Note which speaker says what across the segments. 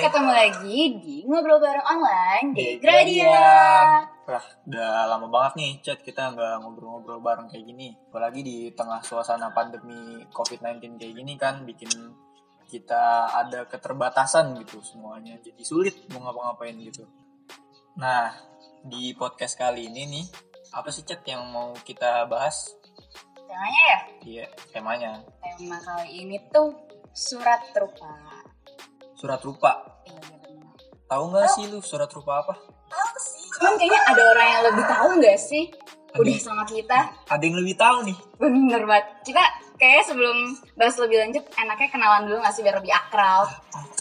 Speaker 1: ketemu lagi di Ngobrol Bareng Online di
Speaker 2: Di
Speaker 1: Gradia.
Speaker 2: Wah, udah lama banget nih, chat kita nggak ngobrol-ngobrol bareng kayak gini. Apalagi di tengah suasana pandemi COVID-19 kayak gini kan, bikin kita ada keterbatasan gitu semuanya. Jadi sulit mau ngapa-ngapain gitu. Nah, di podcast kali ini nih, apa sih chat yang mau kita bahas?
Speaker 1: Temanya ya,
Speaker 2: Iya, temanya
Speaker 1: tema kali ini tuh surat rupa.
Speaker 2: surat rupa.
Speaker 1: Iya benar.
Speaker 2: Tahu
Speaker 1: Oh.
Speaker 2: nggak sih lu surat rupa apa?
Speaker 1: Cuman kayaknya ada orang yang lebih tahu nggak sih? Udah
Speaker 2: Ada,
Speaker 1: sama kita,
Speaker 2: ada yang lebih tahu nih.
Speaker 1: bener banget. Kita kayaknya sebelum bahas lebih lanjut, enaknya kenalan dulu nggak sih biar lebih akrab.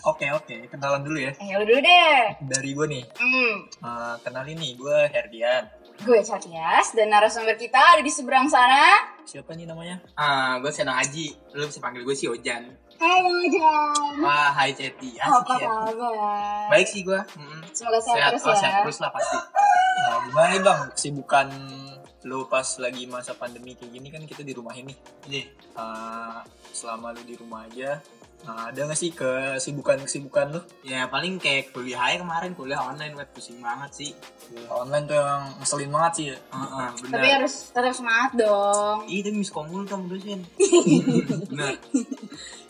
Speaker 2: Oke oke, kenalan dulu ya.
Speaker 1: Eh, lu dulu deh.
Speaker 2: Dari gue nih,
Speaker 1: Hmm,
Speaker 2: Eh, kenalin nih, gue Herdian.
Speaker 1: gue Catias dan narasumber kita ada di seberang sana.
Speaker 2: Siapa nih namanya?
Speaker 3: Ah, gue Seno Haji. Lu bisa panggil gue si Ojan.
Speaker 1: Halo Jan.
Speaker 3: Wah, hai Ceti. Asik
Speaker 1: Apa
Speaker 3: ya.
Speaker 1: kabar?
Speaker 3: Baik sih gue. Mm-mm.
Speaker 1: Semoga sehat,
Speaker 3: Sehat,
Speaker 1: terus
Speaker 3: oh,
Speaker 1: ya.
Speaker 3: sehat terus lah pasti.
Speaker 2: Nah, gimana nih bang, kesibukan lu pas lagi masa pandemi kayak gini kan kita di rumah ini.
Speaker 3: Ini,
Speaker 2: Eh, selama lu di rumah aja, eh, ada gak sih kesibukan-kesibukan lu?
Speaker 3: ya paling kayak kuliah aja kemarin kuliah online web pusing banget sih.
Speaker 2: Kuliah Online tuh emang ngeselin banget sih ya.
Speaker 3: Heeh, bener.
Speaker 1: Tapi harus tetap semangat dong.
Speaker 3: Ih, tapi miskomul kamu dosen. bener.
Speaker 2: Nah,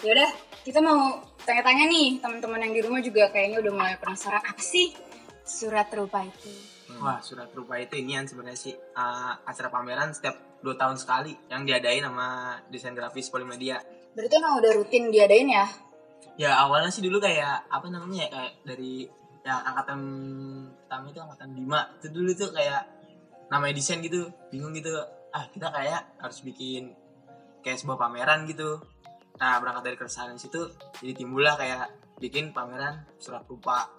Speaker 1: Yaudah, Ya kita mau tanya-tanya nih teman-teman yang di rumah juga kayaknya udah mulai penasaran apa sih surat rupa itu.
Speaker 3: Wah, surat rupa itu ini yang sebenarnya sih ah, acara pameran setiap dua tahun sekali yang diadain sama desain grafis Polimedia.
Speaker 1: Berarti emang udah rutin diadain ya?
Speaker 3: Ya awalnya sih dulu kayak apa namanya ya kayak dari yang angkatan pertama itu angkatan 5 itu dulu tuh kayak namanya desain gitu bingung gitu ah kita kayak harus bikin kayak sebuah pameran gitu nah berangkat dari keresahan situ jadi timbullah kayak bikin pameran surat rupa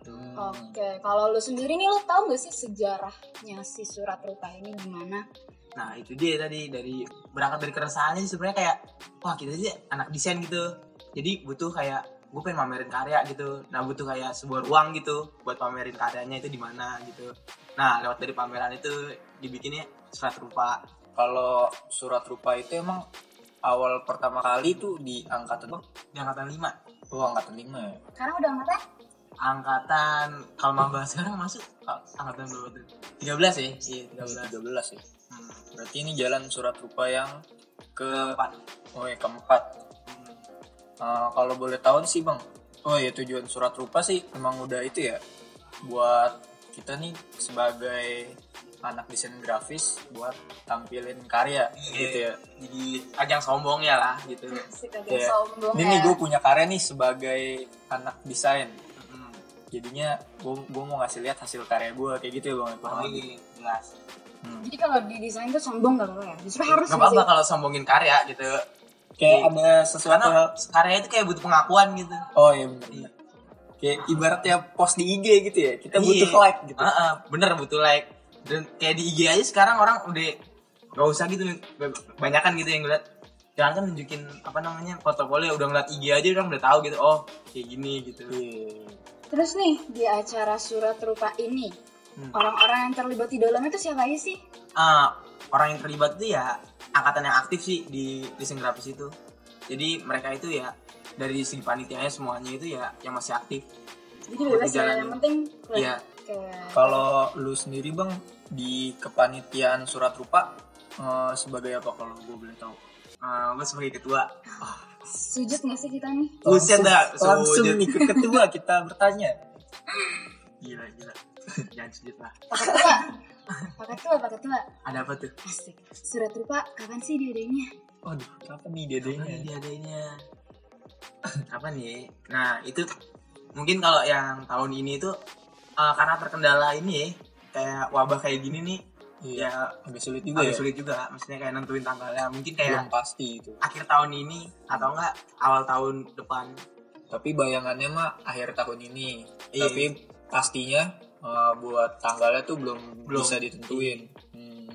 Speaker 2: Hmm.
Speaker 1: Oke, kalau lu sendiri nih lu tahu gak sih sejarahnya si surat rupa ini gimana?
Speaker 3: nah itu dia tadi dari berangkat dari keresahannya sih sebenarnya kayak wah kita sih anak desain gitu jadi butuh kayak gue pengen pamerin karya gitu nah butuh kayak sebuah ruang gitu buat pamerin karyanya itu di mana gitu nah lewat dari pameran itu dibikinnya surat rupa
Speaker 2: Kalau surat rupa itu emang awal pertama kali tuh di angkatan bang?
Speaker 3: di angkatan 5
Speaker 2: Oh angkatan 5 ya?
Speaker 1: Karena udah mata
Speaker 3: angkatan kalau maba sekarang masuk oh, angkatan berapa tuh 13 ya iya 13
Speaker 2: 13 ya?
Speaker 3: hmm,
Speaker 2: Berarti ini jalan surat rupa yang ke
Speaker 3: keempat
Speaker 2: oh ya, keempat
Speaker 3: Hmm.
Speaker 2: Eh, kalau boleh tahu sih bang, oh ya tujuan surat rupa sih emang udah itu ya buat kita nih sebagai anak desain grafis buat tampilin karya gitu ya.
Speaker 3: Iya, jadi ajang sombong ya lah gitu
Speaker 1: sih kagak
Speaker 2: Iya.
Speaker 1: sombong
Speaker 2: Ini
Speaker 1: ya.
Speaker 2: gue punya karya nih sebagai anak desain.
Speaker 3: hmm.
Speaker 2: Jadinya gue mau ngasih lihat hasil karya gue kayak gitu ya bang. Kurang
Speaker 3: Oh, iya,
Speaker 2: lebih.
Speaker 3: jelas
Speaker 2: Hmm.
Speaker 1: Jadi kalau di desain tuh sombong gak apa-apa ya? Justru harus
Speaker 3: Gak
Speaker 1: nggak
Speaker 3: apa-apa kalau sombongin karya gitu
Speaker 2: Kayak ada sesuatu hal.
Speaker 3: karena karya itu kayak butuh pengakuan gitu
Speaker 2: Oh iya benar. Kayak ibaratnya post di IG gitu ya. Kita butuh
Speaker 3: Iya.
Speaker 2: like gitu.
Speaker 3: Heeh, bener butuh like dan kayak di IG aja sekarang orang udah gak usah gitu banyakkan gitu yang ngeliat jangan kan nunjukin apa namanya portofolio udah ngeliat IG aja orang udah tahu gitu oh kayak gini gitu
Speaker 2: Iya.
Speaker 1: Terus nih di acara surat rupa ini
Speaker 3: Hmm.
Speaker 1: orang-orang yang terlibat di dalamnya tuh siapa aja sih?
Speaker 3: Ah, orang yang terlibat itu ya angkatan yang aktif sih di desain grafis itu jadi mereka itu ya dari segi panitianya semuanya itu ya yang masih aktif
Speaker 1: Jadi bebas ya,
Speaker 3: jalanin.
Speaker 1: yang penting
Speaker 3: Iya.
Speaker 1: kayak
Speaker 2: Kalau lu sendiri bang di kepanitiaan surat rupa eh, sebagai apa kalau gue boleh tahu?
Speaker 3: Ah, gue sebagai ketua
Speaker 1: sujud gak sih kita nih?
Speaker 3: Buset dah,
Speaker 2: langsung, langsung
Speaker 3: sujud.
Speaker 2: nih ke ketua kita bertanya.
Speaker 3: gila gila jangan sujud lah
Speaker 1: Pakai tua, pakai tua, pakai tua.
Speaker 3: ada apa tuh
Speaker 1: Asik. Surat rupa kapan sih diadainnya?
Speaker 2: Waduh, apa nih dia
Speaker 3: Apa nih diadainnya? apa nih nah itu mungkin kalau yang tahun ini itu eh, karena terkendala ini kayak wabah kayak gini nih
Speaker 2: Iya,
Speaker 3: ya
Speaker 2: agak sulit juga
Speaker 3: agak
Speaker 2: ya. Iya.
Speaker 3: sulit iya. juga maksudnya kayak nentuin tanggalnya mungkin
Speaker 2: Belum
Speaker 3: kayak
Speaker 2: pasti itu.
Speaker 3: akhir tahun ini atau enggak awal tahun depan
Speaker 2: Tapi bayangannya mah akhir tahun ini.
Speaker 3: Iya.
Speaker 2: Tapi pastinya eh, buat tanggalnya tuh belum,
Speaker 3: Belum.
Speaker 2: bisa ditentuin. Hmm,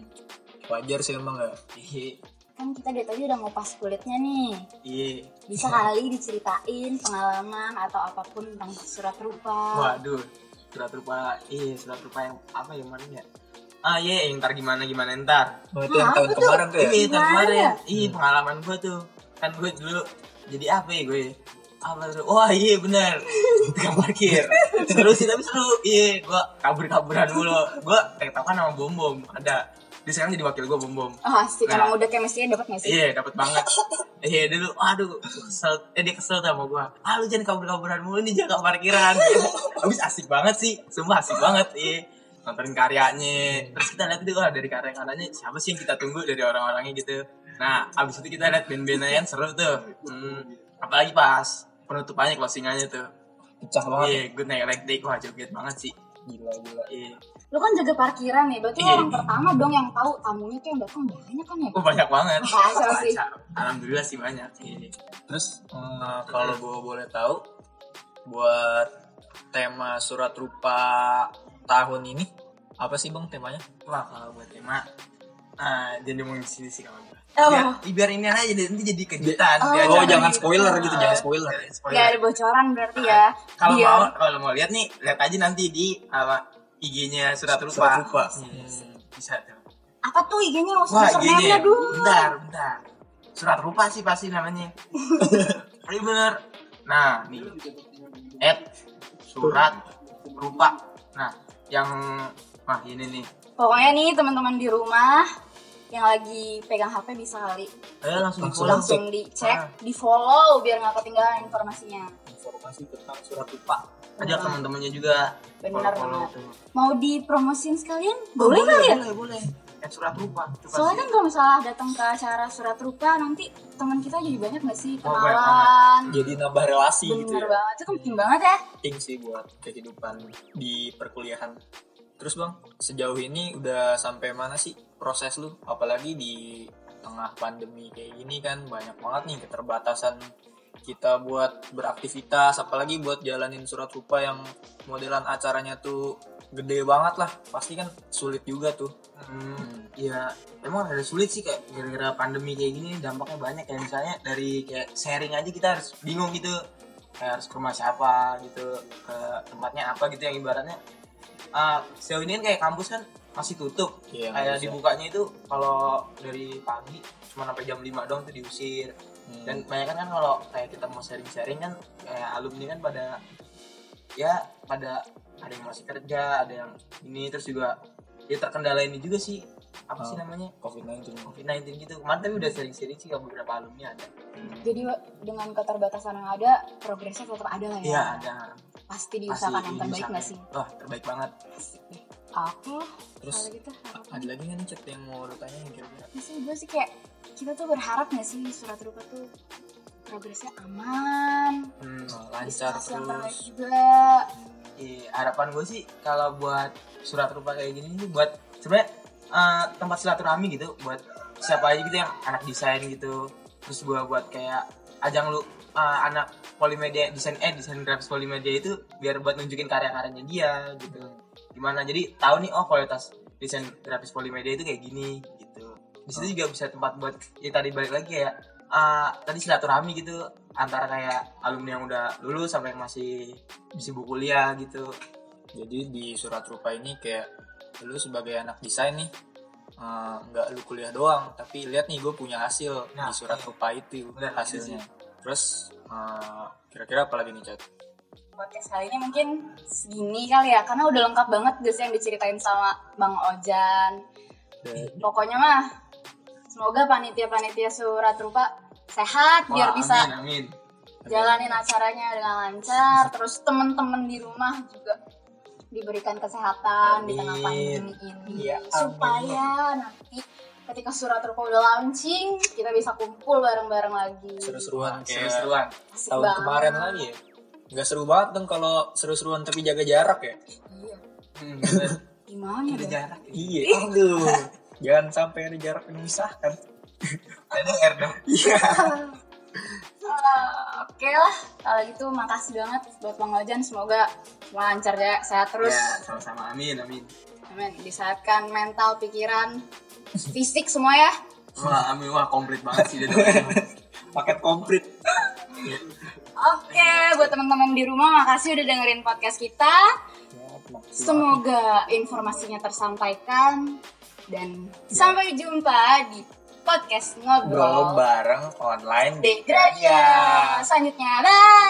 Speaker 2: wajar sih emang ya.
Speaker 3: iya
Speaker 1: Kan kita dari tadi udah ngupas kulitnya nih.
Speaker 3: iya
Speaker 1: Bisa kali diceritain pengalaman atau apapun tentang surat
Speaker 2: Oh.
Speaker 1: rupa.
Speaker 3: waduh surat rupa iya surat rupa yang apa yang kemarin ya ah iya yang ntar gimana gimana ntar
Speaker 2: Waktu
Speaker 1: Hah,
Speaker 2: yang tahun
Speaker 1: apa tuh?
Speaker 2: kemarin tuh ya.
Speaker 3: Nah, Iya, tahun
Speaker 1: Gimana?
Speaker 3: kemarin. Iya,
Speaker 2: Hmm.
Speaker 3: pengalaman gue tuh. Kan gue dulu jadi apa ya gue? Apa tuh? Wah, iya benar. tukang parkir seru sih tapi seru iya gue kabur kaburan mulu eh, gue tektokan sama bom bom kan ada dia sekarang jadi wakil gue bom bom
Speaker 1: Oh asik,
Speaker 3: Nah.
Speaker 1: emang udah chemistry-nya dapet gak sih?
Speaker 3: Iya, dapat banget. Iya, dulu aduh kesel eh dia kesel tuh sama gua. Ah lu jangan kabur-kaburan mulu nih jaga parkiran. Habis asik banget sih. Sumpah asik banget. Iya. Nontonin karyanya. Terus kita lihat itu wah dari karya-karyanya siapa sih yang kita tunggu dari orang-orangnya gitu. Nah, abis itu kita lihat band-bandnya yang seru tuh. Hmm, apalagi pas penutupannya closingannya tuh.
Speaker 2: Pecah banget.
Speaker 3: Iya, good night like Day. Wah, joget banget sih.
Speaker 2: Gila gila.
Speaker 3: Iya.
Speaker 1: Lu kan jaga parkiran ya, berarti lu
Speaker 3: Iya.
Speaker 1: orang pertama dong yang tahu tamunya tuh yang datang banyak kan ya?
Speaker 3: Oh, banyak banget.
Speaker 1: Masa sih?
Speaker 3: Baca. Alhamdulillah sih banyak. Iya.
Speaker 2: Terus eh, kalau gue boleh tahu buat tema surat rupa tahun ini apa sih bang temanya?
Speaker 3: Wah kalau buat tema ah jadi mau di sini sih kalau gue.
Speaker 1: Oh.
Speaker 3: Biar, biar ini aja deh, nanti jadi kejutan.
Speaker 1: Oh,
Speaker 3: di Iya. acara.
Speaker 2: Oh
Speaker 1: jangan
Speaker 2: jangan
Speaker 1: gitu.
Speaker 2: spoiler gitu, jangan spoiler.
Speaker 3: Jangan spoiler.
Speaker 1: Gak ada bocoran berarti ya.
Speaker 3: Nah, Kalau
Speaker 1: Biar-
Speaker 3: mau kalau mau lihat nih, lihat aja nanti di apa IG-nya surat rupa.
Speaker 2: Surat Rupa.
Speaker 3: Hmm, bisa tuh.
Speaker 1: Apa tuh IG-nya? Nggak usah
Speaker 3: Wah, ya?
Speaker 1: username-nya
Speaker 3: IG-nya.
Speaker 1: dulu.
Speaker 3: Bentar, bentar. Surat rupa sih pasti namanya. Iya bener. Nah, nih. At surat rupa. Nah, yang Nah ini nih.
Speaker 1: Pokoknya nih teman-teman di rumah yang lagi pegang HP bisa kali
Speaker 3: Ayo Iya, langsung,
Speaker 2: Langsung.
Speaker 3: pulang.
Speaker 1: langsung
Speaker 3: Ah.
Speaker 1: dicek, di follow biar nggak ketinggalan informasinya.
Speaker 2: Informasi tentang surat rupa.
Speaker 3: Ajak teman-temannya juga.
Speaker 1: Benar,
Speaker 3: Follow-follow
Speaker 1: benar.
Speaker 3: tuh.
Speaker 1: Mau dipromosin sekalian? Boleh kali ya?
Speaker 3: Boleh, boleh. Eh, surat rupa. Itu
Speaker 1: Soalnya kan
Speaker 3: pasti.
Speaker 1: kalau misalnya datang ke acara surat rupa nanti teman kita jadi banyak nggak sih
Speaker 3: Oh, banyak
Speaker 1: kenalan.
Speaker 2: Jadi nambah relasi gitu.
Speaker 1: Bener
Speaker 2: ya.
Speaker 1: banget, itu penting banget ya.
Speaker 2: penting sih buat kehidupan di perkuliahan. Terus bang, sejauh ini udah sampai mana sih proses lu? Apalagi di tengah pandemi kayak gini kan banyak banget nih keterbatasan kita buat beraktivitas, apalagi buat jalanin surat rupa yang modelan acaranya tuh gede banget lah. Pasti kan sulit juga tuh.
Speaker 3: Hmm, ya emang ada sulit sih kayak gara-gara pandemi kayak gini dampaknya banyak kayak misalnya dari kayak sharing aja kita harus bingung gitu kayak harus ke rumah siapa gitu ke tempatnya apa gitu yang ibaratnya Ah, sejauh ini kan kayak kampus kan masih tutup
Speaker 2: Iya,
Speaker 3: kayak
Speaker 2: harusnya.
Speaker 3: dibukanya itu kalau dari pagi cuma sampai jam 5 doang tuh diusir
Speaker 2: Hmm.
Speaker 3: dan banyak kan kalau kayak kita mau sharing-sharing kan kayak alumni kan pada ya pada ada yang masih kerja ada yang ini terus juga ya terkendala ini juga sih apa sih
Speaker 2: Oh.
Speaker 3: namanya
Speaker 2: COVID-19.
Speaker 3: COVID-19 gitu kemarin tapi udah sharing-sharing sih ke beberapa alumni ada
Speaker 1: Jadi dengan keterbatasan yang ada, progresnya tetap ada lah ya.
Speaker 3: iya ada
Speaker 1: Pasti
Speaker 3: Masih
Speaker 1: diusahakan yang terbaik nggak sih?
Speaker 3: diusahain. wah terbaik banget
Speaker 1: Asik deh. Aku lah, kalau
Speaker 2: Terus
Speaker 1: gitu harapan.
Speaker 2: ada lagi nggak nih chat yang mau lu tanyain kira-kira?
Speaker 1: Maksudnya gue sih kayak kita tuh berharap nggak sih surat rupa tuh progresnya aman,
Speaker 3: Hmm,
Speaker 2: Nah, lancar
Speaker 1: hasil yang terbaik
Speaker 2: terus.
Speaker 1: juga.
Speaker 3: iya, harapan gue sih kalau buat surat rupa kayak gini nih buat sebenarnya eh, tempat silaturahmi gitu buat siapa aja gitu yang anak desain gitu terus gue buat kayak ajang lu eh, anak polimedia desain eh desain grafis polimedia itu biar buat nunjukin karya-karyanya dia gitu gimana jadi tahu nih oh kualitas desain grafis polimedia itu kayak gini gitu di situ juga bisa tempat buat ya tadi balik lagi ya eh, tadi silaturahmi gitu antara kayak alumni yang udah lulus sampai yang masih sibuk kuliah gitu
Speaker 2: Jadi di surat rupa ini kayak lu sebagai anak desain nih eh, nggak lu kuliah doang tapi lihat nih gue punya hasil
Speaker 3: Nah,
Speaker 2: di surat
Speaker 3: iya.
Speaker 2: rupa itu
Speaker 3: Bener,
Speaker 2: hasilnya.
Speaker 3: iya
Speaker 2: Terus eh, kira-kira apa lagi nih chat?
Speaker 1: Podcast kali ini mungkin segini kali ya, karena udah lengkap banget gak sih yang diceritain sama Bang Ojan. Pokoknya mah, semoga panitia-panitia surat rupa sehat
Speaker 3: Wah,
Speaker 1: biar bisa
Speaker 3: amin, amin.
Speaker 1: jalanin acaranya dengan lancar terus temen-temen di rumah juga diberikan kesehatan di tengah
Speaker 3: Amin.
Speaker 1: pandemi ini
Speaker 2: Ya, amin.
Speaker 1: supaya nanti ketika surat rupa udah launching kita bisa kumpul bareng-bareng lagi
Speaker 2: Seru-seruan kayak
Speaker 3: seru-seruan
Speaker 1: Asik
Speaker 2: tahun
Speaker 1: banget.
Speaker 2: kemarin lagi ya. Nggak seru banget dong kalau seru-seruan tapi jaga jarak ya.
Speaker 1: iya
Speaker 3: Hmm, bener.
Speaker 1: gimana
Speaker 3: Udah
Speaker 1: ya
Speaker 3: jarak ya.
Speaker 2: Iya, aduh. Jangan sampai ada jarak yang memisahkan.
Speaker 3: LDR dong
Speaker 1: Ah, oke lah kalau gitu makasih banget buat Bang Ojan semoga semua lancar ya sehat terus
Speaker 3: ya sama-sama amin amin
Speaker 1: amin disehatkan mental pikiran fisik semua ya
Speaker 3: wah amin wah komplit banget sih dia tuh.
Speaker 2: Paket komplit.
Speaker 1: Oke, buat teman-teman di rumah makasih udah dengerin podcast kita.
Speaker 2: Ya, maksimal.
Speaker 1: Semoga informasinya tersampaikan dan
Speaker 3: Ya.
Speaker 1: sampai jumpa di podcast ngobrol
Speaker 2: Ngobrol bareng online
Speaker 3: Ya.
Speaker 1: Degradia. Selanjutnya, bye.